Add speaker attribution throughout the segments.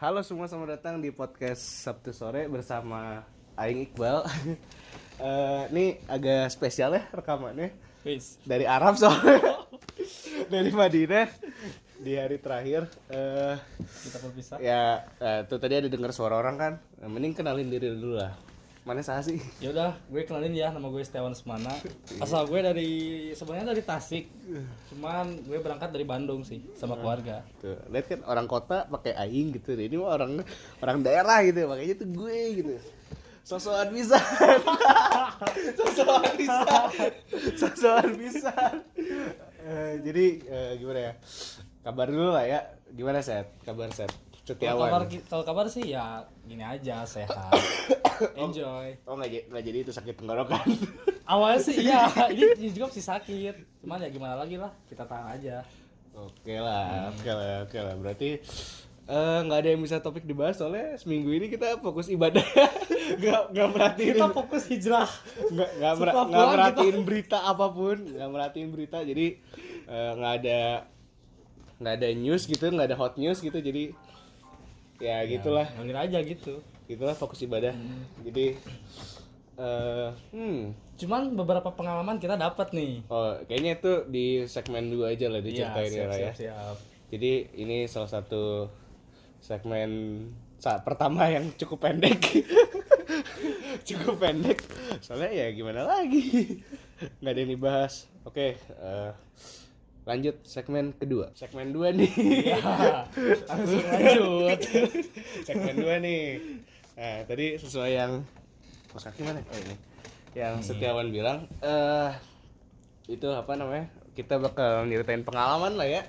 Speaker 1: Halo semua, selamat datang di podcast Sabtu sore bersama Aing Iqbal. Eh, Ini agak spesial ya rekamannya
Speaker 2: Wis.
Speaker 1: dari Arab soalnya, dari Madinah di hari terakhir. eh
Speaker 2: Kita berpisah.
Speaker 1: ya eh, tuh tadi ada dengar suara orang kan. Nah, Mending kenalin diri dulu lah. Mana saya sih?
Speaker 2: Ya udah, gue kenalin ya nama gue Setiawan Semana. Asal gue dari sebenarnya dari Tasik. Cuman gue berangkat dari Bandung sih sama keluarga.
Speaker 1: Tuh, lihat kan orang kota pakai aing gitu. Ini mah orang orang daerah gitu, makanya tuh gue gitu. Sosokan bisa. Sosokan bisa. Sosokan bisa. Eh, jadi eh, gimana ya? Kabar dulu lah ya. Gimana set? Kabar set.
Speaker 2: Kalau
Speaker 1: Setiawan.
Speaker 2: kabar ki- kalau kabar sih ya gini aja sehat. Enjoy.
Speaker 1: Oh nggak jadi, nggak jadi itu sakit tenggorokan.
Speaker 2: Awalnya sih iya, ini ini juga sih sakit. Cuman ya gimana lagi lah, kita tahan aja.
Speaker 1: oke lah, oke lah, oke lah. Berarti eh, nggak ada yang bisa topik dibahas soalnya seminggu ini kita fokus ibadah. Nggak nggak merhatiin
Speaker 2: Kita fokus hijrah.
Speaker 1: nggak nggak mer- nggak
Speaker 2: Suka pulang gitu.
Speaker 1: merhatiin berita apapun nggak merhatiin berita jadi eh, nggak ada nggak ada news gitu nggak ada hot news gitu jadi ya
Speaker 2: Iya.
Speaker 1: gitulah
Speaker 2: Ngalir aja gitu.
Speaker 1: gitulah fokus ibadah
Speaker 2: Hmm.
Speaker 1: jadi eh hmm
Speaker 2: Cuman beberapa pengalaman kita dapat nih.
Speaker 1: oh kayaknya itu di segmen dua aja lah
Speaker 2: Iya,
Speaker 1: diceritain ya, Ra, ya
Speaker 2: siap, siap.
Speaker 1: jadi ini salah satu segmen sa- pertama yang cukup pendek cukup pendek soalnya ya gimana lagi nggak ada yang dibahas oke eh, lanjut segmen kedua segmen dua nih
Speaker 2: Ya, langsung lanjut.
Speaker 1: segmen dua nih nah tadi sesuai yang mas kaki mana oh ini yang Setiawan bilang eh itu apa namanya kita bakal nyeritain pengalaman lah ya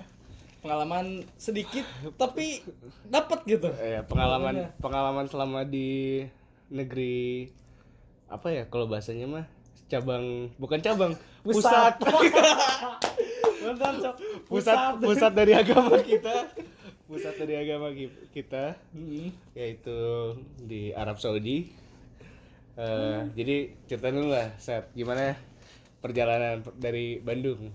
Speaker 2: pengalaman sedikit tapi dapat gitu
Speaker 1: Eh, pengalaman pengalaman selama di negeri apa ya kalau bahasanya mah cabang bukan cabang pusat
Speaker 2: Pusat.
Speaker 1: pusat
Speaker 2: Bener, Cok.
Speaker 1: pusat, pusat dari agama kita pusat dari agama ki- kita
Speaker 2: Mm-mm.
Speaker 1: yaitu di Arab Saudi Eh, jadi cerita dulu lah Seth. gimana perjalanan per- dari Bandung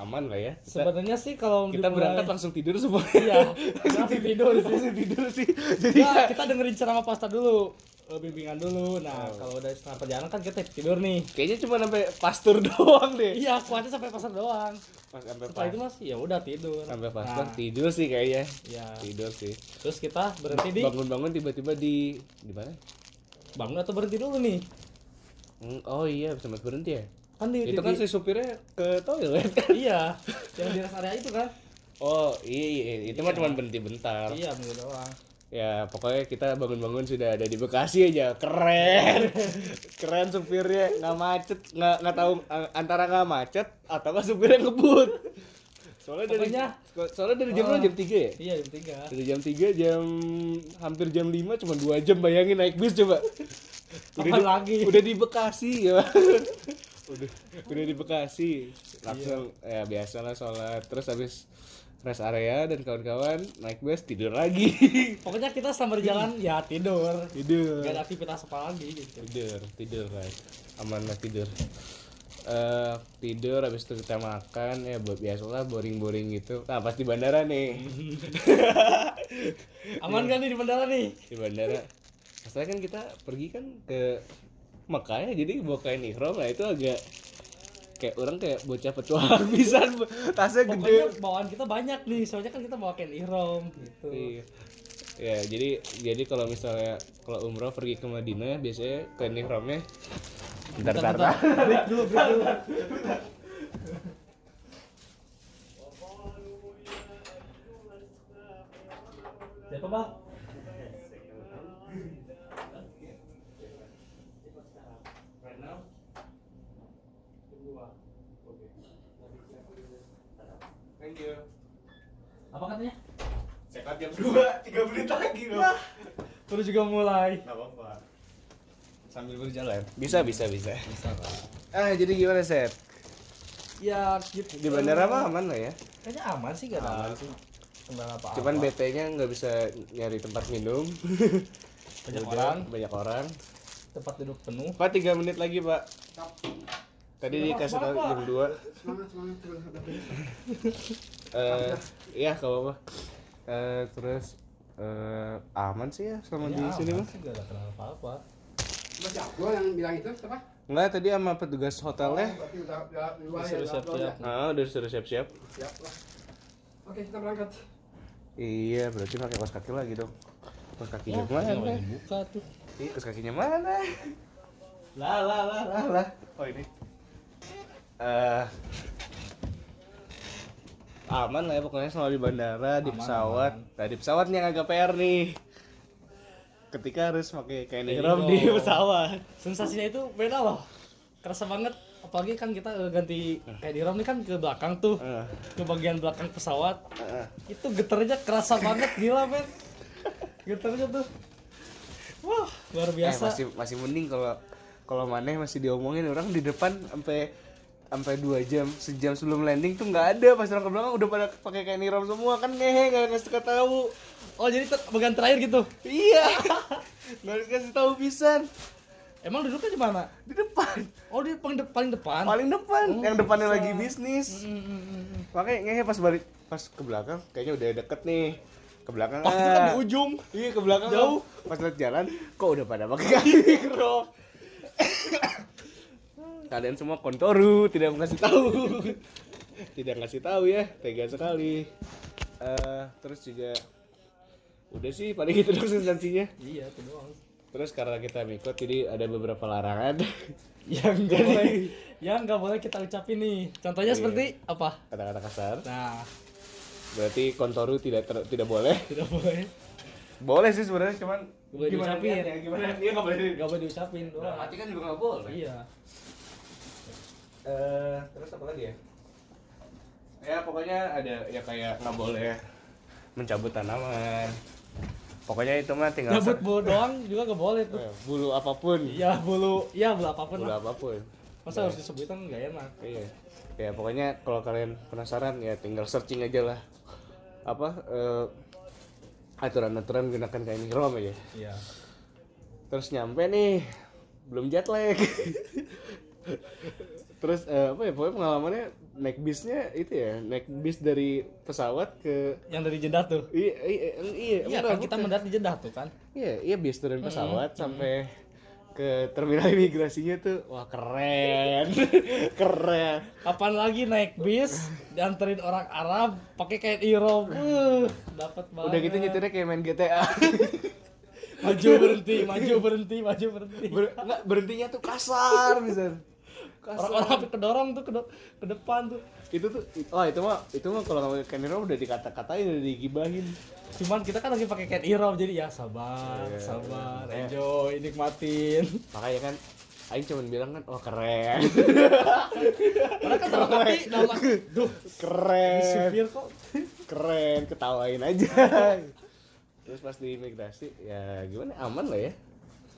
Speaker 1: aman lah ya kita,
Speaker 2: sebenarnya sih kalau
Speaker 1: kita
Speaker 2: dimulai-
Speaker 1: berangkat langsung tidur semua
Speaker 2: iya langsung tidur sih.
Speaker 1: langsung tidur sih jadi
Speaker 2: Nah, kita dengerin ceramah pasta dulu Eh, bimbingan dulu nah kalau udah setengah perjalanan kan kita tidur nih
Speaker 1: Kayaknya cuma sampai pastur doang deh.
Speaker 2: iya kuatnya sampai pasar doang
Speaker 1: Pas sampai
Speaker 2: setelah
Speaker 1: pas,
Speaker 2: itu mas ya udah tidur
Speaker 1: sampai pastur
Speaker 2: Nah,
Speaker 1: tidur sih kayaknya.
Speaker 2: ya
Speaker 1: Tidur sih.
Speaker 2: terus kita berhenti di
Speaker 1: Bangun-bangun tiba-tiba di di mana?
Speaker 2: bangun atau berhenti dulu nih
Speaker 1: Hmm, Oh iya, sempat berhenti ya.
Speaker 2: kan di,
Speaker 1: Itu
Speaker 2: di-
Speaker 1: kan si
Speaker 2: di-
Speaker 1: supirnya ke toilet.
Speaker 2: iya yang di rest area itu kan
Speaker 1: Oh iya, iya. itu mah cuma berhenti bentar.
Speaker 2: iya bener doang
Speaker 1: Ya pokoknya kita bangun-bangun sudah ada di Bekasi aja. Keren. Keren supirnya nggak macet, nggak nggak tahu eh, antara nggak macet atau nggak supirnya ngebut. Soalnya dari
Speaker 2: Pokoknya-
Speaker 1: soalnya dari jam berapa? jam 3 ya?
Speaker 2: iya jam tiga
Speaker 1: Dari jam 3 jam hampir jam 5 cuma 2 jam bayangin naik bis coba. Udah di,
Speaker 2: Kapan lagi?
Speaker 1: udah di Bekasi ya. udah udah di Bekasi. Langsung ya biasalah sholat terus habis rest area dan kawan-kawan naik bus tidur lagi.
Speaker 2: Pokoknya kita selama di jalan ya tidur.
Speaker 1: tidur.
Speaker 2: Gak ada aktivitas apa lagi gitu.
Speaker 1: Tidur, tidur guys. Aman lah tidur. Eh tidur habis itu kita makan ya bu- biasalah boring-boring gitu. Nah, pas di bandara nih.
Speaker 2: Aman kan nih di bandara nih?
Speaker 1: di bandara masalahnya kan kita pergi kan ke Mekah ya jadi bawa kain ihram lah itu agak kayak orang kayak bocah petualang pisan tasnya gede
Speaker 2: Pokoknya bawaan kita banyak nih, soalnya kan kita bawa kain ihrom gitu.
Speaker 1: Iya. ya jadi jadi kalau misalnya kalau umroh pergi ke Madinah biasanya kain ihramnya bentar bentar,
Speaker 2: Break dulu, break dulu. Siapa bang?
Speaker 1: thank you
Speaker 2: Apa katanya?
Speaker 1: sekat jam dua tiga menit lagi loh
Speaker 2: Terus juga mulai.
Speaker 1: nggak apa-apa sambil berjalan bisa bisa bisa ah jadi gimana set
Speaker 2: Ya gitu.
Speaker 1: di bandara mah aman lah ya
Speaker 2: Kayaknya aman sih gak ada. Kendala apa?
Speaker 1: cuman BT-nya nggak bisa nyari tempat minum
Speaker 2: banyak
Speaker 1: Udah,
Speaker 2: orang,
Speaker 1: banyak orang
Speaker 2: tempat duduk penuh.
Speaker 1: pak tiga menit lagi pak tadi
Speaker 2: Sudah,
Speaker 1: dikasih
Speaker 2: Pak,
Speaker 1: tahu
Speaker 2: Pak.
Speaker 1: jam dua iya, eh ya kalau apa Eh, terus eh, aman sih ya sama di
Speaker 2: Ya,
Speaker 1: sini
Speaker 2: aman
Speaker 1: mah.
Speaker 2: sih, Gak ada kenal apa-apa.
Speaker 3: Mas Jago yang bilang itu siapa?
Speaker 1: Enggak tadi sama petugas hotelnya.
Speaker 3: Berarti udah udah luar ya,
Speaker 2: Disuruh
Speaker 3: udah upload
Speaker 2: siap-siap.
Speaker 3: ya.
Speaker 1: Ah, udah suruh siap-siap.
Speaker 3: Siap lah. Oke, kita berangkat.
Speaker 1: Iya, berarti pakai kaos kaki lagi dong. Kaos kakinya
Speaker 2: Nggak boleh
Speaker 1: mana?
Speaker 2: dibuka Iya, tuh.
Speaker 1: Ih, kaos kakinya mana? Lah, lah, lah, lah, lah. Oh, ini. Eh aman lah ya pokoknya selama di bandara, di
Speaker 2: Aman,
Speaker 1: pesawat. Nah, di pesawat nih yang agak PR nih. Ketika harus pakai kain
Speaker 2: Kayak
Speaker 1: ihram
Speaker 2: gitu.
Speaker 1: di pesawat.
Speaker 2: Sensasinya itu beda loh. Kerasa banget. Apalagi kan kita eh, ganti kayak di rom nih kan ke belakang tuh.
Speaker 1: Heeh.
Speaker 2: Ke bagian belakang pesawat.
Speaker 1: Heeh.
Speaker 2: Itu geternya kerasa banget gila, men. Geternya tuh. Wah, luar biasa.
Speaker 1: Eh, masih masih mending kalau kalau maneh masih diomongin orang di depan sampai sampai dua jam sejam sebelum landing tuh nggak ada pas orang ke belakang udah pada pakai kain ihram semua kan ngehe nggak ngasih tahu
Speaker 2: Oh, jadi ter- bagian terakhir gitu.
Speaker 1: iya nggak dikasih tahu pisan
Speaker 2: Emang duduknya di mana?
Speaker 1: di depan
Speaker 2: Oh, di paling, de- paling depan.
Speaker 1: paling depan
Speaker 2: Oh,
Speaker 1: yang depannya
Speaker 2: bisa.
Speaker 1: lagi bisnis
Speaker 2: Mm, mm, mm, mm.
Speaker 1: makanya ngehe pas balik pas ke belakang kayaknya udah deket nih ke belakang
Speaker 2: Waktu kan
Speaker 1: ah.
Speaker 2: di ujung.
Speaker 1: Iya ke belakang
Speaker 2: Jauh.
Speaker 1: kan. Pas lihat jalan, kok udah pada pakai kaki mikro. Kalian semua kontoru, tidak ngasih tahu. tidak ngasih tahu ya, tega sekali. Eh, terus juga udah sih paling itu dong substansinya.
Speaker 2: Iya, itu doang.
Speaker 1: Terus karena kita mikot jadi ada beberapa larangan.
Speaker 2: Yang Ya, nggak boleh, yang nggak boleh kita ucapin nih. Contohnya
Speaker 1: Iya.
Speaker 2: seperti apa?
Speaker 1: Kata-kata kasar.
Speaker 2: Nah,
Speaker 1: Berarti kontoru tidak ter- tidak boleh.
Speaker 2: tidak boleh.
Speaker 1: Boleh sih sebenarnya cuman
Speaker 2: Nggak boleh diucapin.
Speaker 1: niatnya, gimana? Dia nggak boleh.
Speaker 2: Nggak boleh diucapin doang.
Speaker 1: kan juga nggak boleh.
Speaker 2: Iya.
Speaker 1: eh terus apa lagi ya? Ya pokoknya ada ya kayak nggak boleh mencabut tanaman. Pokoknya itu mah tinggal
Speaker 2: Nyabut bulu doang juga nggak boleh tuh.
Speaker 1: Eh, bulu apapun.
Speaker 2: Iya bulu, iya bulu apapun.
Speaker 1: Bulu
Speaker 2: lah.
Speaker 1: apapun.
Speaker 2: Masa harus disebutin nggak enak.
Speaker 1: Iya. Ya pokoknya kalau kalian penasaran ya tinggal searching aja lah. Apa eh, aturan-aturan gunakan kain ihram aja.
Speaker 2: Iya.
Speaker 1: Terus nyampe nih belum jet lag. Terus eh, apa ya pokoknya pengalamannya naik bisnya itu ya, naik bis dari pesawat ke
Speaker 2: Yang dari Jeddah tuh.
Speaker 1: Iya, iya, iya,
Speaker 2: Iya
Speaker 1: benar,
Speaker 2: kan kita
Speaker 1: bukan.
Speaker 2: mendarat di Jeddah tuh kan.
Speaker 1: Iya, iya bis turun pesawat sampai ke terminal imigrasinya tuh. Wah, keren. keren.
Speaker 2: Kapan lagi naik bis dianterin orang Arab pakai kain ihram. Uh, dapat banget.
Speaker 1: Udah gitu nyetirnya kayak main GTA.
Speaker 2: Maju berhenti, maju berhenti, maju berhenti.
Speaker 1: Ber- nggak, berhentinya tuh kasar bisa.
Speaker 2: Orang-orang kedorong tuh ke, de- ke depan tuh.
Speaker 1: Itu tuh oh itu mah itu mah kalau kamu kamera udah dikata-katain udah digibahin.
Speaker 2: Cuman kita kan lagi pakai kain ihram jadi ya sabar,
Speaker 1: Iya.
Speaker 2: sabar, enjoy, nikmatin.
Speaker 1: Makanya kan Aing cuman bilang kan, oh keren,
Speaker 2: Orang kan dalam hati, dalam hati, duh, ini
Speaker 1: keren,
Speaker 2: supir kok.
Speaker 1: keren, ketawain aja. Terus pas di imigrasi, ya gimana, aman lah ya.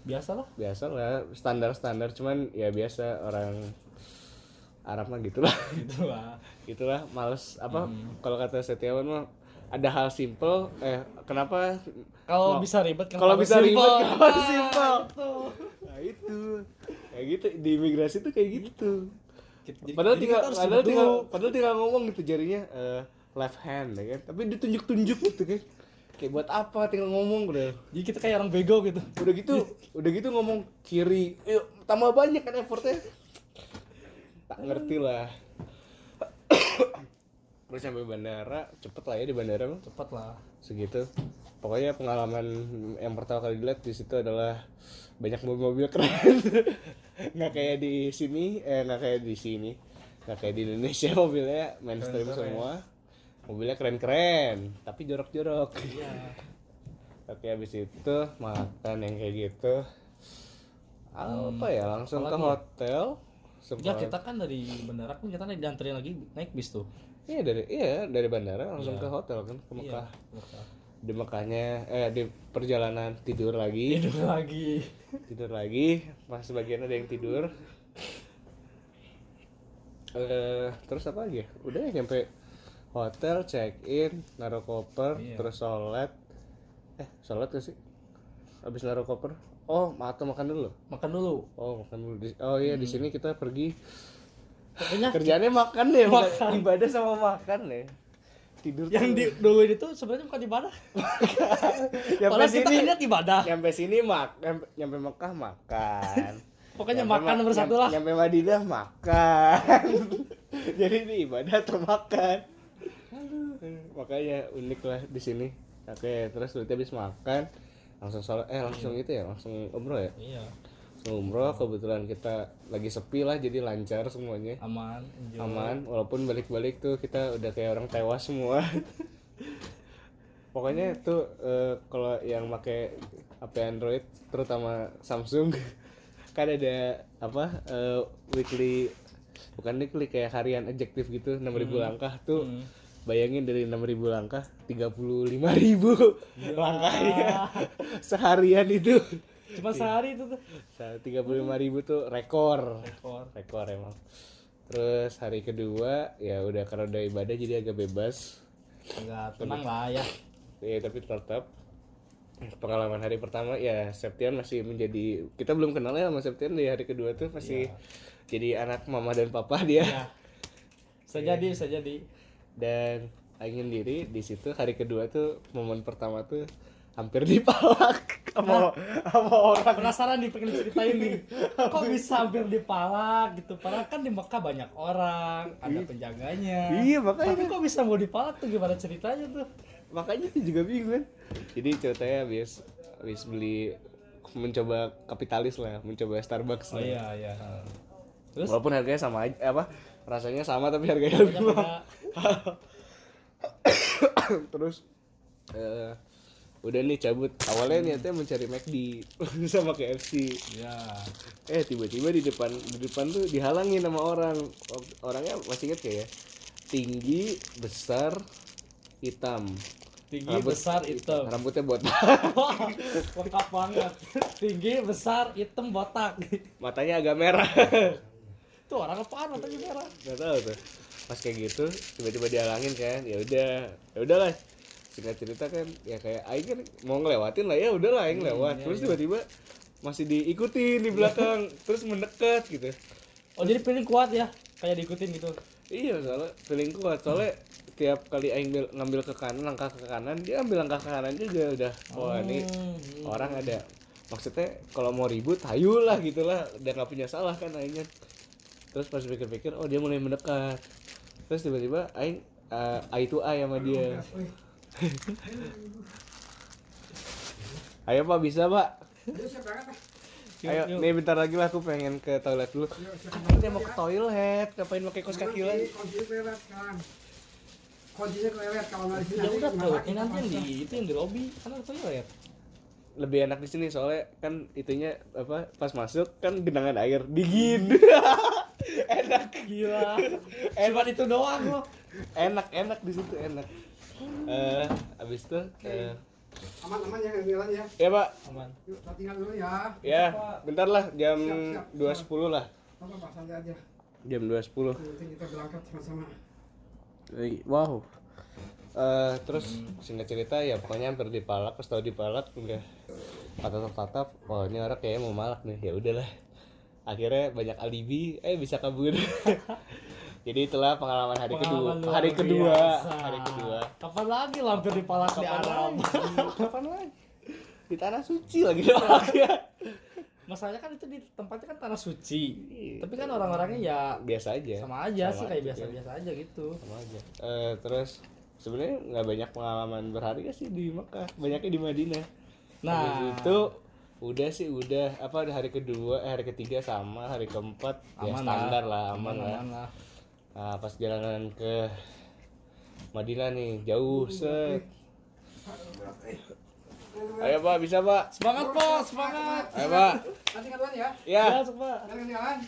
Speaker 2: Biasa lah.
Speaker 1: biasa lah standar standar cuman ya biasa orang Arab mah gitulah
Speaker 2: Gitu lah.
Speaker 1: gitulah males apa
Speaker 2: Hmm.
Speaker 1: kalau kata Setiawan mah ada hal simple eh kenapa
Speaker 2: Kalau
Speaker 1: Mau-
Speaker 2: bisa ribet, kenapa
Speaker 1: kalau
Speaker 2: harus
Speaker 1: bisa ribet
Speaker 2: simple?
Speaker 1: kenapa harus
Speaker 2: Ah,
Speaker 1: simple
Speaker 2: gitu.
Speaker 1: nah itu kayak gitu di imigrasi tuh kayak gitu
Speaker 2: Kita- jadi-
Speaker 1: padahal
Speaker 2: jadi
Speaker 1: tinggal
Speaker 2: kita harus
Speaker 1: padahal
Speaker 2: ribet
Speaker 1: tinggal
Speaker 2: dulu.
Speaker 1: padahal tinggal ngomong gitu jarinya eh, left hand ya kan tapi ditunjuk tunjuk gitu kan kayak buat apa tinggal ngomong udah
Speaker 2: Jadi kita kayak orang bego gitu.
Speaker 1: udah gitu udah gitu ngomong kiri yuk tambah banyak kan effortnya tak ngerti lah terus sampai bandara cepet lah ya di bandara mah,
Speaker 2: Cepat lah.
Speaker 1: segitu pokoknya pengalaman yang pertama kali dilihat di situ adalah banyak mobil-mobil keren nggak kayak di sini eh nggak kayak di sini nggak kayak di Indonesia mobilnya mainstream
Speaker 2: Keren-keren.
Speaker 1: semua mobilnya keren-keren tapi jorok-jorok
Speaker 2: Iya.
Speaker 1: Oke habis itu makan yang kayak gitu apa ya langsung ke
Speaker 2: apalagi ya?
Speaker 1: hotel
Speaker 2: Ya
Speaker 1: sempat
Speaker 2: kita kan dari bandara pun kita naik dianterin lagi naik bis tuh.
Speaker 1: iya dari iya dari bandara langsung
Speaker 2: Iya.
Speaker 1: ke hotel kan ke Mekah
Speaker 2: Mekah.
Speaker 1: di Mekahnya eh di perjalanan tidur lagi
Speaker 2: Tidur Iya, lagi.
Speaker 1: tidur lagi pas sebagian ada yang tidur eh terus apa lagi ya? udah ya nyampe hotel check in naruh koper
Speaker 2: Iya.
Speaker 1: terus sholat eh sholat gak sih habis naruh koper oh atau makan dulu
Speaker 2: Makan dulu.
Speaker 1: Oh, makan dulu. Di- Oh iya, di
Speaker 2: Hmm.
Speaker 1: sini kita pergi
Speaker 2: Pokoknya
Speaker 1: kerjaannya makan ya, bukan ibadah sama makan ya. tidur
Speaker 2: Yang di, dulu itu sebenarnya bukan ibadah.
Speaker 1: nyampe
Speaker 2: Padahal kita
Speaker 1: sini
Speaker 2: kan lihat ibadah.
Speaker 1: nyampe sini mak nyampe, nyampe Mekah makan
Speaker 2: Pokoknya
Speaker 1: Nyampe
Speaker 2: makan
Speaker 1: Ma-
Speaker 2: nomor satu
Speaker 1: nyampe-
Speaker 2: lah.
Speaker 1: nyampe Madinah makan jadi ini ibadah atau makan makanya unik lah di sini oke terus berarti habis makan langsung sholat eh
Speaker 2: Hmm.
Speaker 1: langsung itu ya langsung umroh ya
Speaker 2: Iya,
Speaker 1: langsung umroh kebetulan kita lagi sepi lah jadi lancar semuanya
Speaker 2: aman, enjoy.
Speaker 1: aman walaupun balik-balik tuh kita udah kayak orang tewas semua pokoknya tuh eh, kalau yang pakai HP Android terutama Samsung kan ada apa eh, weekly bukan weekly kayak harian adjektif gitu 6000 langkah tuh
Speaker 2: Hmm.
Speaker 1: bayangin dari 6000 langkah 35.000
Speaker 2: Ya.
Speaker 1: langkahnya seharian itu
Speaker 2: Cuma sehari itu tuh.
Speaker 1: tiga puluh tuh rekor
Speaker 2: Rekor.
Speaker 1: rekor emang terus hari kedua ya udah karena udah ibadah jadi agak bebas
Speaker 2: Enggak tenang lah ya.
Speaker 1: ya tapi tetap pengalaman hari pertama ya Septian masih menjadi kita belum kenal ya sama Septian di hari kedua tuh masih jadi anak mama dan papa dia
Speaker 2: Ya. Bisa jadi, bisa jadi.
Speaker 1: dan angin diri di situ hari kedua tuh momen pertama tuh hampir dipalak sama sama orang
Speaker 2: Penasaran nih pengen diceritain nih. Kok bisa hampir dipalak gitu? Padahal kan di Mekah banyak orang, ada penjaganya.
Speaker 1: Iya, makanya.
Speaker 2: Tapi kok bisa mau dipalak tuh gimana ceritanya tuh?
Speaker 1: makanya itu juga bingung kan jadi ceritanya habis habis beli mencoba kapitalis lah mencoba Starbucks
Speaker 2: Oh
Speaker 1: lah.
Speaker 2: iya, iya. Terus
Speaker 1: walaupun harganya sama aja apa rasanya sama tapi harganya lebih mahal
Speaker 2: ada
Speaker 1: terus eh, udah nih cabut awalnya niatnya mencari McD sama KFC
Speaker 2: ya
Speaker 1: eh tiba-tiba di depan di depan tuh dihalangin sama orang O- orangnya masih inget kayak ya tinggi besar hitam
Speaker 2: tinggi besar hitam.
Speaker 1: rambutnya botak
Speaker 2: Wah, lengkap banget. Tinggi, besar, hitam, botak.
Speaker 1: matanya agak merah
Speaker 2: Tuh orang apaan matanya merah.
Speaker 1: nggak tahu tuh pas kayak gitu tiba-tiba dihalangin kan ya udah ya udahlah singkat cerita kan ya kayak Aing kan mau ngelewatin lah ya udahlah Aing lewat terus tiba-tiba masih diikuti di belakang terus mendekat gitu
Speaker 2: Oh jadi feeling kuat ya, kayak diikutin gitu.
Speaker 1: iya soalnya feeling kuat soalnya tiap kali Aing ambil- ngambil ke kanan langkah ke kanan dia ambil langkah ke kanan juga udah wah ini
Speaker 2: Hmm.
Speaker 1: orang ada maksudnya kalau mau ribut hayu lah gitulah udah nggak punya salah kan akhirnya terus pas pikir-pikir oh dia mulai mendekat terus tiba-tiba aing eh, eye to eye sama dia ayo pak bisa pak
Speaker 3: Ayo, siap berangkat, Pak.
Speaker 2: Yuk,
Speaker 1: ayo
Speaker 2: yuk.
Speaker 1: nih bentar lagi lah aku pengen ke toilet dulu
Speaker 3: Yuk, Iya, siap
Speaker 1: katanya mau
Speaker 3: berangkat,
Speaker 1: ke
Speaker 3: ya.
Speaker 1: toilet ngapain pakai kaos kaki lagi
Speaker 3: Kunci- kuncinya kelewat sekarang. Kuncinya kelewat kalau nggak di sini
Speaker 2: Ya
Speaker 3: nanti
Speaker 2: udah
Speaker 3: rumah
Speaker 2: tuh,
Speaker 3: sakit
Speaker 2: ini nanti yang
Speaker 3: terpaksa.
Speaker 2: di itu yang di lobby kan ada toilet.
Speaker 1: lebih enak di sini soalnya kan itunya apa pas masuk kan genangan air dingin enak
Speaker 2: Gila.
Speaker 1: Eh,
Speaker 2: Cuma itu doang loh.
Speaker 1: enak enak di situ enak eh abis itu eh,
Speaker 3: Aman-aman ya, yang jalan ya.
Speaker 1: ya pak
Speaker 2: Aman.
Speaker 3: Yuk, kita tinggal dulu ya.
Speaker 1: ya bentar lah jam
Speaker 3: Siap, siap.
Speaker 1: 2.10 lah
Speaker 3: Nggak apa-apa, santai aja.
Speaker 1: jam 2.10
Speaker 3: Nanti kita berangkat sama-sama.
Speaker 1: Wih, wow Eh, terus singkat cerita ya pokoknya hampir dipalak pas tahu dipalak udah tatap tatap wah ini orang kayaknya mau malak nih ya udahlah akhirnya banyak alibi eh bisa kabur jadi itulah pengalaman hari kedua
Speaker 2: Pengalaman luar
Speaker 1: hari kedua
Speaker 2: biasa.
Speaker 1: hari kedua
Speaker 2: Kapan lagi lampir di palas di Arab?
Speaker 1: lagi? kapan lagi di tanah suci lagi dipalak ya
Speaker 2: Masalahnya kan itu di tempatnya kan tanah suci.
Speaker 1: Iya.
Speaker 2: Tapi kan orang-orangnya ya
Speaker 1: biasa aja
Speaker 2: sama aja
Speaker 1: Iya.
Speaker 2: sih kayak
Speaker 1: aja. iya.
Speaker 2: biasa-biasa aja gitu.
Speaker 1: sama aja Eh, terus sebenarnya nggak banyak pengalaman berharga sih di Mekah banyaknya di Madinah
Speaker 2: Nah.
Speaker 1: Habis itu udah sih udah apa hari kedua eh, hari ketiga sama hari keempat ya
Speaker 2: Aman lah.
Speaker 1: standar lah aman, lah
Speaker 2: Aman lah.
Speaker 1: Nah, pas jalanan ke Madinah nih jauh set ayo pak bisa pak
Speaker 2: Semangat, Pak, semangat.
Speaker 1: ayo pak
Speaker 3: Nanti keduan ya.
Speaker 2: Ya,
Speaker 1: ya
Speaker 2: Pak.
Speaker 3: Jangan jalan.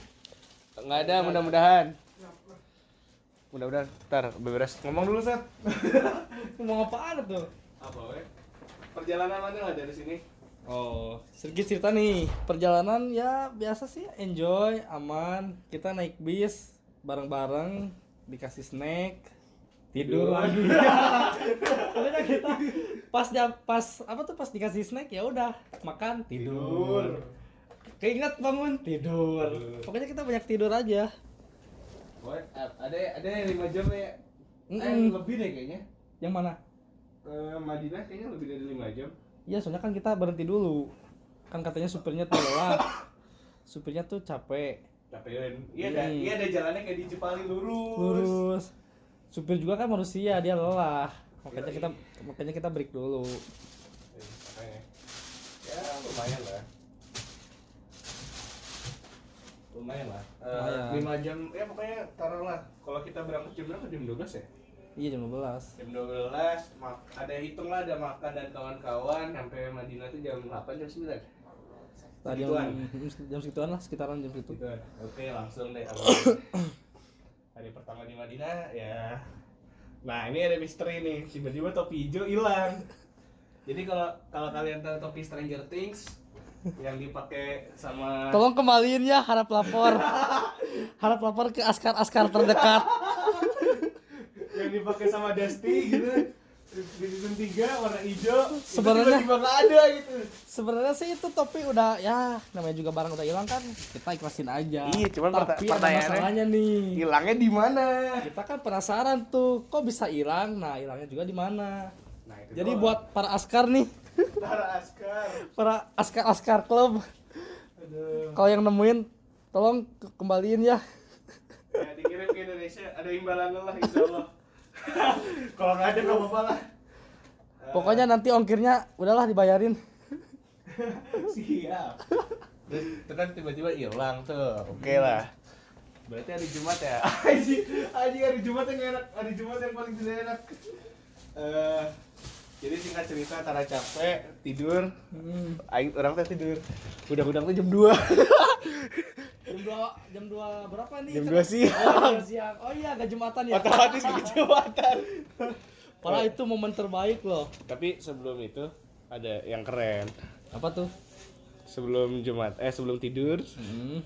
Speaker 1: nggak ada mudah-mudahan mudah-mudahan ntar beberes ngomong dulu set
Speaker 2: Ngomong apaan tuh?
Speaker 1: apa we perjalanan mana lah dari sini
Speaker 2: Oh, sedikit cerita nih. Perjalanan ya biasa sih, enjoy, aman. Kita naik bis bareng-bareng, dikasih snack, tidur lagi. Pokoknya kita pas dia- pas apa tuh pas dikasih snack ya udah makan tidur. Keinget bangun tidur. Pokoknya kita banyak tidur aja.
Speaker 1: What? Ada ada yang lima jam ya? Eh,
Speaker 2: Mm-mm.
Speaker 1: lebih deh kayaknya.
Speaker 2: Yang mana?
Speaker 1: Eh, Madinah kayaknya lebih dari lima jam.
Speaker 2: Iya, soalnya kan kita berhenti dulu. Kan katanya supirnya tuh lelah. supirnya tuh capek.
Speaker 1: Capean. Iya ada,
Speaker 2: Hmm.
Speaker 1: iya ada jalannya kayak di Cipali lurus.
Speaker 2: Lurus. Supir juga kan manusia, dia lelah. Makanya kita makanya kita break dulu.
Speaker 1: Eh, makanya. Ya lumayan lah. Lumayan lah.
Speaker 2: Lumayan.
Speaker 1: Eh, 5 jam ya pokoknya taruhlah kalau kita berangkat jam berapa jam 12 ya?
Speaker 2: Iya, jam 12.
Speaker 1: Jam 12 ma- ada hitung lah ada makan dan kawan-kawan sampai Madinah tuh jam 8 jam 9.
Speaker 2: Tadi
Speaker 1: Segituan.
Speaker 2: jam, jam segituan lah, sekitaran jam segitu.
Speaker 1: Gitu. Oke, langsung deh awal. Hari pertama di Madinah ya. Nah, ini ada misteri nih. Tiba-tiba topi hijau hilang. Jadi kalau kalau kalian tahu topi Stranger Things yang dipakai sama
Speaker 2: Tolong kembaliin ya, harap lapor. harap lapor ke askar-askar terdekat.
Speaker 1: yang dipakai sama Dusty gitu di season 3 warna hijau itu
Speaker 2: Sebenarnya-
Speaker 1: tiba-tiba nggak ada gitu
Speaker 2: Sebenarnya sih itu topi udah ya namanya juga barang udah hilang kan kita ikhlasin aja.
Speaker 1: Iya, cuman
Speaker 2: tapi
Speaker 1: perta-
Speaker 2: ada
Speaker 1: pertanyaannya-
Speaker 2: masalahnya nih.
Speaker 1: hilangnya di mana
Speaker 2: Kita kan penasaran tuh kok bisa hilang. Nah hilangnya juga di mana?
Speaker 1: nah, itu
Speaker 2: Jadi
Speaker 1: doang.
Speaker 2: buat para askar nih,
Speaker 1: para askar
Speaker 2: para askar-askar klub,
Speaker 1: aduh
Speaker 2: kalau yang nemuin tolong ke- kembaliin ya.
Speaker 1: ya, dikirim ke Indonesia ada imbalan lah insya Allah kalau nggak ada nggak apa-apa lah Eh,
Speaker 2: Pokoknya nanti ongkirnya udahlah dibayarin.
Speaker 1: siap Terus itu kan tiba-tiba hilang tuh oke lah berarti hari Jumat ya Aji Aji hari Jumat yang enak hari Jumat yang paling tidak enak Eh, jadi singkat cerita karena capek tidur
Speaker 2: Hmm.
Speaker 1: Aing orang teh tidur udang-udang tuh jam 2
Speaker 2: Jam dua jam dua berapa nih?
Speaker 1: Jam dua siang.
Speaker 2: Oh, jam dua siang. Oh iya, gak jumatan ya.
Speaker 1: otomatis kecepatan
Speaker 2: Padahal itu momen terbaik loh.
Speaker 1: tapi sebelum itu ada yang keren
Speaker 2: Apa tuh?
Speaker 1: sebelum Jumat eh sebelum tidur
Speaker 2: Hmm.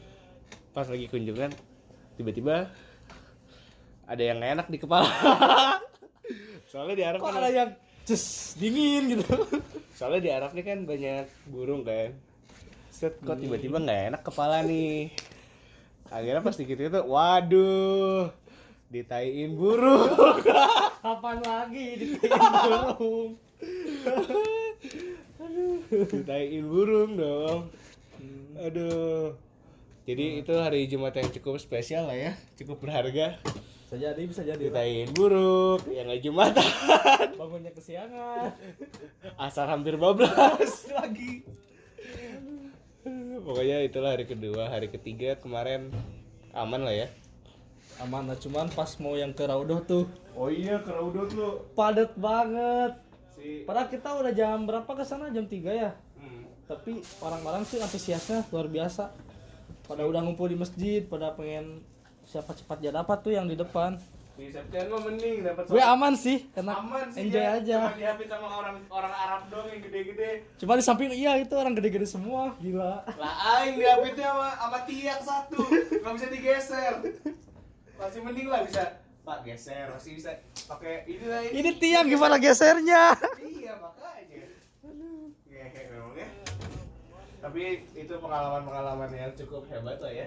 Speaker 1: pas lagi kunjungan tiba-tiba ada yang nggak enak di kepala soalnya di Arab
Speaker 2: Kok
Speaker 1: kan
Speaker 2: ada yang cus dingin gitu?
Speaker 1: soalnya di Arab nih kan banyak burung kan set kok
Speaker 2: Iya.
Speaker 1: tiba-tiba nggak enak kepala nih akhirnya pas dikit itu waduh ditaiin burung
Speaker 2: Kapan lagi di burung?
Speaker 1: ditaiin burung dong
Speaker 2: Hmm.
Speaker 1: aduh jadi itu hari Jumat yang cukup spesial lah ya cukup berharga
Speaker 2: Bisa jadi, bisa jadi.
Speaker 1: ditaiin burung yang nggak Jumatan
Speaker 2: Bangunnya kesiangan.
Speaker 1: Asar hampir bablas lagi. Pokoknya itulah hari kedua, hari ketiga kemarin aman lah ya.
Speaker 2: Aman lah, cuman pas mau yang ke Raudoh tuh
Speaker 1: Oh iya, keraudot lu.
Speaker 2: padat banget.
Speaker 1: Si hmm.
Speaker 2: Padahal kita udah jam berapa ke sana? Jam 3 ya. Tapi orang-orang sih antusiasnya luar biasa. Pada udah ngumpul di masjid, pada pengen siapa cepat dia dapat tuh yang di depan.
Speaker 1: di Septian mah mending dapat
Speaker 2: Gue aman sih, enak.
Speaker 1: aman sih
Speaker 2: enjoy
Speaker 1: ya.
Speaker 2: aja.
Speaker 1: Cuma dihabis sama orang orang Arab doang yang gede-gede.
Speaker 2: Cuma di samping iya itu orang gede-gede semua, gila.
Speaker 1: Lah aing dihabisnya sama sama tiang satu, nggak bisa digeser. Masih mending lah bisa Pak geser, masih bisa pakai ini lah ini.
Speaker 2: Ini tiang gimana gesernya?
Speaker 1: iya makanya ngehe memang ya tapi itu pengalaman-pengalaman yang cukup hebat lah ya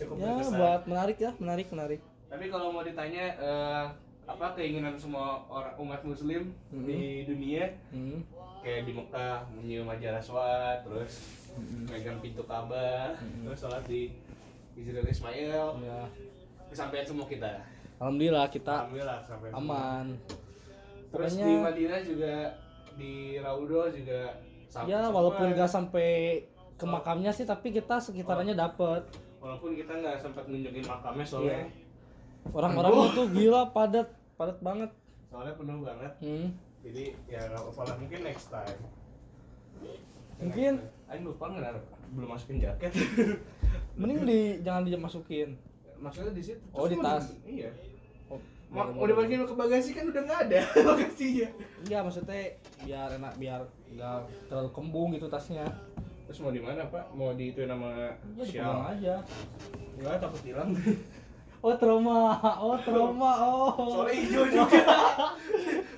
Speaker 1: cukup
Speaker 2: Ya
Speaker 1: berkesan
Speaker 2: buat menarik ya, menarik menarik.
Speaker 1: tapi kalau mau ditanya eh, apa keinginan semua orang umat muslim
Speaker 2: Mhm.
Speaker 1: di dunia
Speaker 2: Hmm.
Speaker 1: kayak di Mekah menyium aja raswat terus megang pintu Ka'bah terus sholat di Israel Ismail
Speaker 2: Ya.
Speaker 1: kesampaian semua kita
Speaker 2: Alhamdulillah kita
Speaker 1: alhamdulillah sampai
Speaker 2: aman.
Speaker 1: terus
Speaker 2: Pokoknya-
Speaker 1: di Madinah juga di Raudo juga sam-
Speaker 2: Ya
Speaker 1: sama.
Speaker 2: walaupun gak sampai ke makamnya sih tapi kita
Speaker 1: Oh.
Speaker 2: sekitarnya dapet
Speaker 1: walaupun kita nggak sempat nunjukin makamnya soalnya
Speaker 2: Iya. Orang-orang itu gila padat, padat banget.
Speaker 1: soalnya penuh banget
Speaker 2: Hmm.
Speaker 1: jadi ya nggak apa-apa lah. mungkin next time
Speaker 2: Mungkin.
Speaker 1: Ayo lupa nggak naruh- belum masukin jaket
Speaker 2: Mending di jangan dimasukin.
Speaker 1: maksudnya di situ
Speaker 2: Oh, di
Speaker 1: Terus
Speaker 2: tas.
Speaker 1: mau di- iya
Speaker 2: Oh,
Speaker 1: Ma- mau dimasukin ke bagasi kan udah nggak ada ya. bagasinya
Speaker 2: Iya maksudnya biar enak biar nggak terlalu kembung gitu tasnya.
Speaker 1: terus mau di mana pak mau di itu nama
Speaker 2: Ya dipegang aja.
Speaker 1: nggak takut hilang
Speaker 2: Oh trauma, oh trauma, oh.
Speaker 1: soalnya hijau juga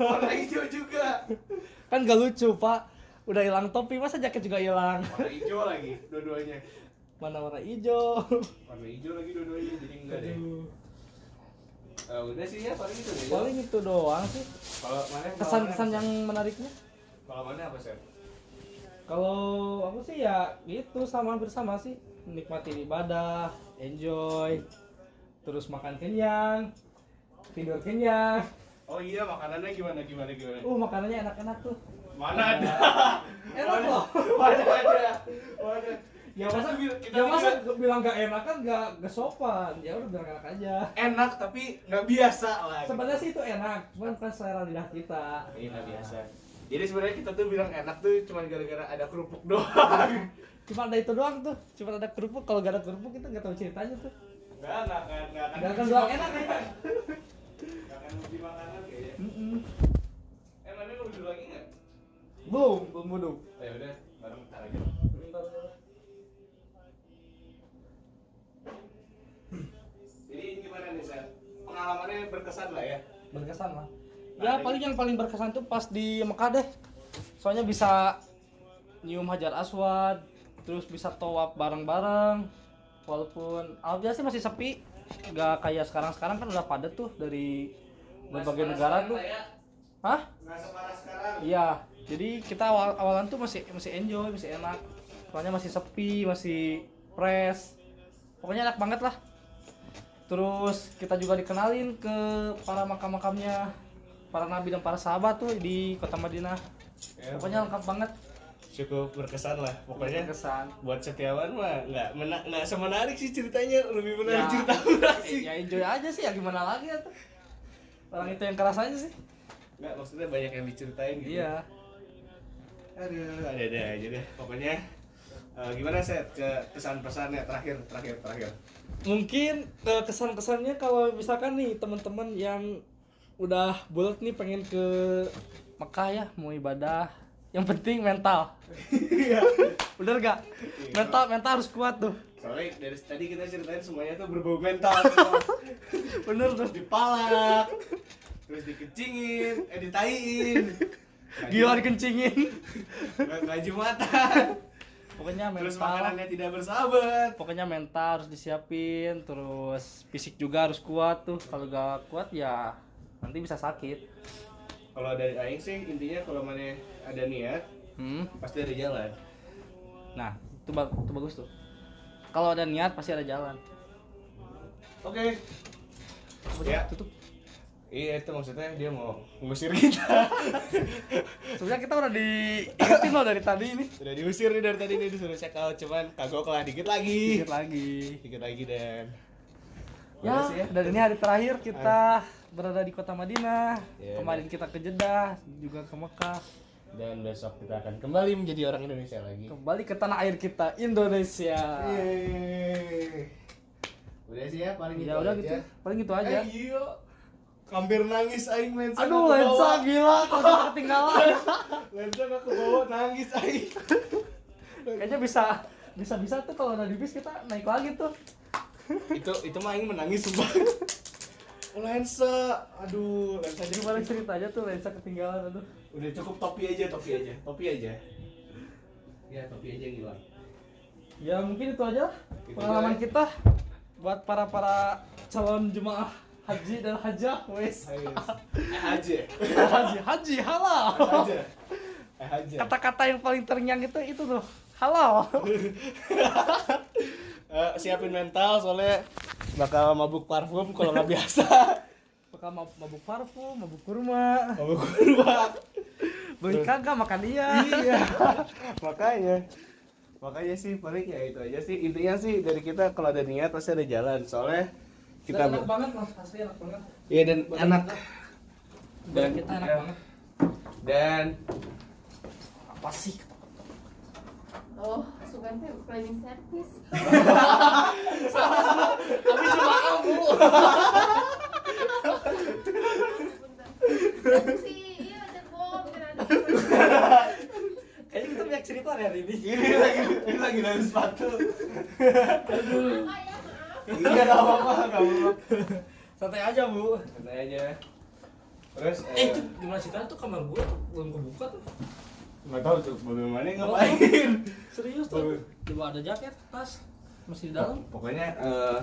Speaker 1: warna hijau juga
Speaker 2: Kan gak lucu pak. Udah hilang topi masa jaket juga hilang.
Speaker 1: warna hijau lagi dua-duanya
Speaker 2: Mana warna hijau.
Speaker 1: warna hijau lagi dua-duanya jadi enggak deh
Speaker 2: Aduh.
Speaker 1: Eh, udah sih ya paling itu ya.
Speaker 2: Paling itu doang sih.
Speaker 1: Kalau mana kalau
Speaker 2: Kesan-kesan
Speaker 1: mana-
Speaker 2: yang menariknya.
Speaker 1: kalau mana apa sih?
Speaker 2: Kalau aku sih ya gitu sama bersama sih menikmati ibadah, enjoy, terus makan kenyang, tidur kenyang.
Speaker 1: Oh iya makanannya gimana gimana gimana?
Speaker 2: Uh makanannya enak-enak tuh.
Speaker 1: Mana ada?
Speaker 2: Enak loh.
Speaker 1: Mana ada? Mana?
Speaker 2: Eh, Ya masa,
Speaker 1: bi- kita
Speaker 2: ya masa
Speaker 1: bilang
Speaker 2: bilang gak enak kan gak, gak sopan. Ya udah bilang enak aja.
Speaker 1: enak tapi nggak biasa lah. gitu.
Speaker 2: Sebenarnya sih itu enak, cuman kan selera lidah kita.
Speaker 1: Iya nggak biasa. Jadi sebenarnya kita tuh bilang enak tuh cuma gara-gara ada kerupuk doang.
Speaker 2: Cuma ada itu doang tuh, cuma ada kerupuk. Kalau gak ada kerupuk kita gak tahu ceritanya tuh.
Speaker 1: Nggak nggak nggak nggak
Speaker 2: Gak akan bilang enak enak.
Speaker 1: Nggak akan lebih makanan kayaknya.
Speaker 2: Mm-mm.
Speaker 1: ya. Eh mana lu duduk lagi nggak?
Speaker 2: Belum, belum belum.
Speaker 1: Oh, ya udah bareng ntar aja. Jadi gimana nih Sar? Pengalamannya berkesan lah ya.
Speaker 2: berkesan lah
Speaker 1: Nah,
Speaker 2: ya paling yang paling berkesan tuh pas di Mekah deh soalnya bisa nyium hajar aswad terus bisa tawaf bareng-bareng walaupun alhamdulillah sih masih sepi gak kayak sekarang-sekarang kan udah padat tuh dari berbagai negara tuh hah
Speaker 1: Nggak separah sekarang.
Speaker 2: Iya, jadi kita awal awalan tuh masih masih enjoy, masih enak. Soalnya masih sepi, masih fresh. Pokoknya enak banget lah. Terus kita juga dikenalin ke para makam-makamnya para nabi dan para sahabat tuh di kota Madinah. Pokoknya lengkap banget
Speaker 1: cukup berkesan lah pokoknya
Speaker 2: kesan.
Speaker 1: buat Setiawan mah nggak mena nggak semenarik sih ceritanya lebih menarik
Speaker 2: Ya.
Speaker 1: cerita orang sih
Speaker 2: Ya enjoy aja sih, ya gimana lagi ya tuh. Orang itu yang keras aja sih.
Speaker 1: nggak maksudnya banyak yang diceritain gitu
Speaker 2: Iya.
Speaker 1: aduh ada ada aja deh pokoknya eh, gimana set ke pesan pesannya terakhir terakhir terakhir
Speaker 2: mungkin eh, kesan-kesannya kalau misalkan nih teman-teman yang udah bulat nih pengen ke Mekah ya mau ibadah yang penting mental
Speaker 1: Iya.
Speaker 2: bener gak mental mental harus kuat tuh
Speaker 1: soalnya dari tadi kita ceritain semuanya tuh berbau mental
Speaker 2: bener tuh
Speaker 1: terus dipalak terus dikecingin eh ditain
Speaker 2: gila dikencingin
Speaker 1: nggak nggak jumatan
Speaker 2: pokoknya
Speaker 1: terus
Speaker 2: mental
Speaker 1: makanannya tidak bersahabat
Speaker 2: pokoknya mental harus disiapin terus fisik juga harus kuat tuh kalau gak kuat ya nanti bisa sakit
Speaker 1: kalau dari Aing sih intinya kalau mana ada niat
Speaker 2: hmm.
Speaker 1: pasti ada jalan
Speaker 2: nah itu, ba- itu bagus tuh kalau ada niat pasti ada jalan
Speaker 1: oke
Speaker 2: ya.
Speaker 1: Ya.
Speaker 2: tutup
Speaker 1: iya itu maksudnya dia mau ngusir kita
Speaker 2: Sebenarnya kita udah diingetin loh dari tadi ini.
Speaker 1: sudah diusir nih dari tadi nih disuruh check out cuman kagok lah dikit lagi
Speaker 2: Dikit lagi.
Speaker 1: dikit lagi dan
Speaker 2: Ya,
Speaker 1: Udah sih ya. Ah.
Speaker 2: dan ini hari terakhir kita berada di kota Madinah.
Speaker 1: Iya,
Speaker 2: Kemarin kita ke Jeddah, juga ke Mekah.
Speaker 1: dan besok kita akan kembali menjadi orang Indonesia lagi
Speaker 2: Kembali ke tanah air kita, Indonesia.
Speaker 1: Iya. Yeay. udah sih ya paling
Speaker 2: Ya udah gitu, paling gitu aja.
Speaker 1: eh, iya hampir nangis aing lensa
Speaker 2: Aduh,
Speaker 1: nggak kebawa.
Speaker 2: lensa gila, kota
Speaker 1: Iya.
Speaker 2: ketinggalan.
Speaker 1: lensa gak kebawa nangis aing
Speaker 2: Kayaknya bisa bisa bisa tuh kalau udah di bis kita naik lagi tuh.
Speaker 1: itu itu mah aing menangis sumpah Oh, lensa aduh lensa jadi
Speaker 2: Jadi paling ceritanya tuh lensa ketinggalan aduh.
Speaker 1: udah cukup topi aja topi aja topi aja ya topi aja yang hilang
Speaker 2: Ya mungkin itu aja lah
Speaker 1: Gitu
Speaker 2: pengalaman
Speaker 1: aja.
Speaker 2: kita buat para para calon jemaah haji dan hajah wes
Speaker 1: Ayo. eh aja
Speaker 2: haji haji halal
Speaker 1: aja eh aja
Speaker 2: kata-kata yang paling terngiang itu itu tuh halal
Speaker 1: Eh, siapin mental soalnya bakal mabuk parfum kalau nggak biasa
Speaker 2: bakal mab- mabuk parfum mabuk kurma
Speaker 1: mabuk kurma
Speaker 2: beli kagak makan dia
Speaker 1: iya makanya makanya sih paling ya itu aja sih intinya sih dari kita kalau ada niat pasti ada jalan soalnya kita
Speaker 2: Dan enak banget mas asli enak banget
Speaker 1: Iya dan anak
Speaker 2: dan kita enak
Speaker 1: ya.
Speaker 2: banget
Speaker 1: dan
Speaker 2: apa sih
Speaker 4: Oh, bukan teh cleaning service.
Speaker 2: tapi cuma kamu
Speaker 4: sih, iya ada bom, ada.
Speaker 2: kayaknya kita banyak cerita deh hari ini
Speaker 1: ini lagi ini lagi dari sepatu
Speaker 4: Apa ya, maaf.
Speaker 1: iya nggak apa apa nggak apa apa
Speaker 2: santai aja bu
Speaker 1: santai aja terus
Speaker 2: eh itu gimana ceritanya tuh kamar gue tuh belum kebuka tuh
Speaker 1: nggak tahu tuh bagaimana ngapain
Speaker 2: serius tuh coba ada jaket tas masih di dalam
Speaker 1: pokoknya eh,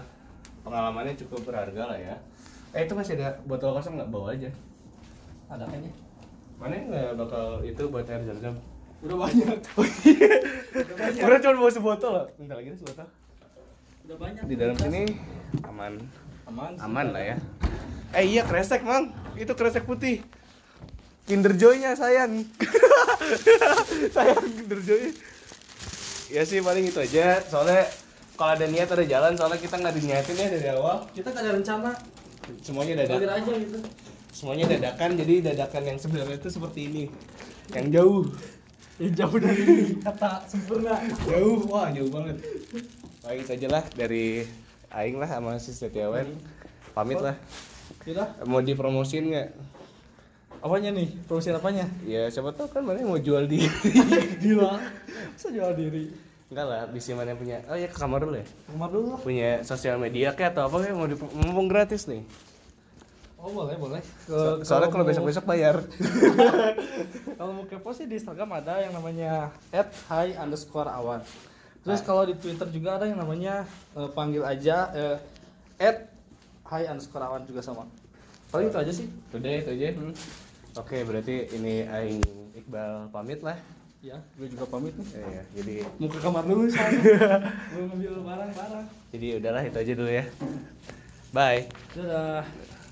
Speaker 1: pengalamannya cukup berharga lah ya Eh itu masih ada botol kosong nggak bawa aja?
Speaker 2: Ada kayaknya.
Speaker 1: Mana yang nggak bakal itu buat air jam-jam?
Speaker 2: Udah banyak. Udah banyak.
Speaker 1: Orang cuma bawa sebotol. Bentar lagi deh sebotol.
Speaker 2: Udah banyak.
Speaker 1: Di dalam sini aman,
Speaker 2: aman. sih.
Speaker 1: aman lah ya. Eh iya kresek mang, itu kresek putih. Kinder Joy-nya sayang. sayang Kinder Joy. Ya sih paling itu aja. Soalnya kalau ada niat ada jalan, soalnya kita nggak diniatin ya dari awal.
Speaker 2: Kita gak ada rencana.
Speaker 1: Semuanya
Speaker 2: Ngalir
Speaker 1: dadakan.
Speaker 2: aja gitu.
Speaker 1: Semuanya dadakan, jadi dadakan yang sebenarnya itu seperti ini. Yang jauh.
Speaker 2: Ya, jauh dari kata sempurna.
Speaker 1: jauh wah jauh banget baik itu aja lah dari Aing lah sama si Setiawan pamit lah
Speaker 2: Yaudah.
Speaker 1: mau dipromosin nggak
Speaker 2: Apanya nih? Produksi apanya?
Speaker 1: ya siapa tahu kan mana yang mau jual di
Speaker 2: Gila. Saya jual diri.
Speaker 1: enggak lah bisa mana yang punya oh ya ke kamar dulu ya
Speaker 2: Kamar dulu lah.
Speaker 1: punya sosial media kayak atau apa kayak mau dipro- mumpung gratis nih
Speaker 2: Oh boleh boleh.
Speaker 1: So-
Speaker 2: Ke,
Speaker 1: soalnya kalau
Speaker 2: mau-
Speaker 1: besok besok bayar
Speaker 2: kalau mau kepo sih di Instagram ada yang namanya @hi underscore awan. Terus kalau di Twitter juga ada yang namanya eh, panggil aja eh, at hi underscore awan juga sama. Paling itu aja sih.
Speaker 1: udah itu aja oke berarti ini Aing Iqbal pamit lah
Speaker 2: Ya, gue juga pamit nih.
Speaker 1: ya, ya, jadi
Speaker 2: Mau ke kamar dulu soalnya. Belum ngambil barang-barang.
Speaker 1: jadi udahlah itu aja dulu ya bye
Speaker 2: Dadah.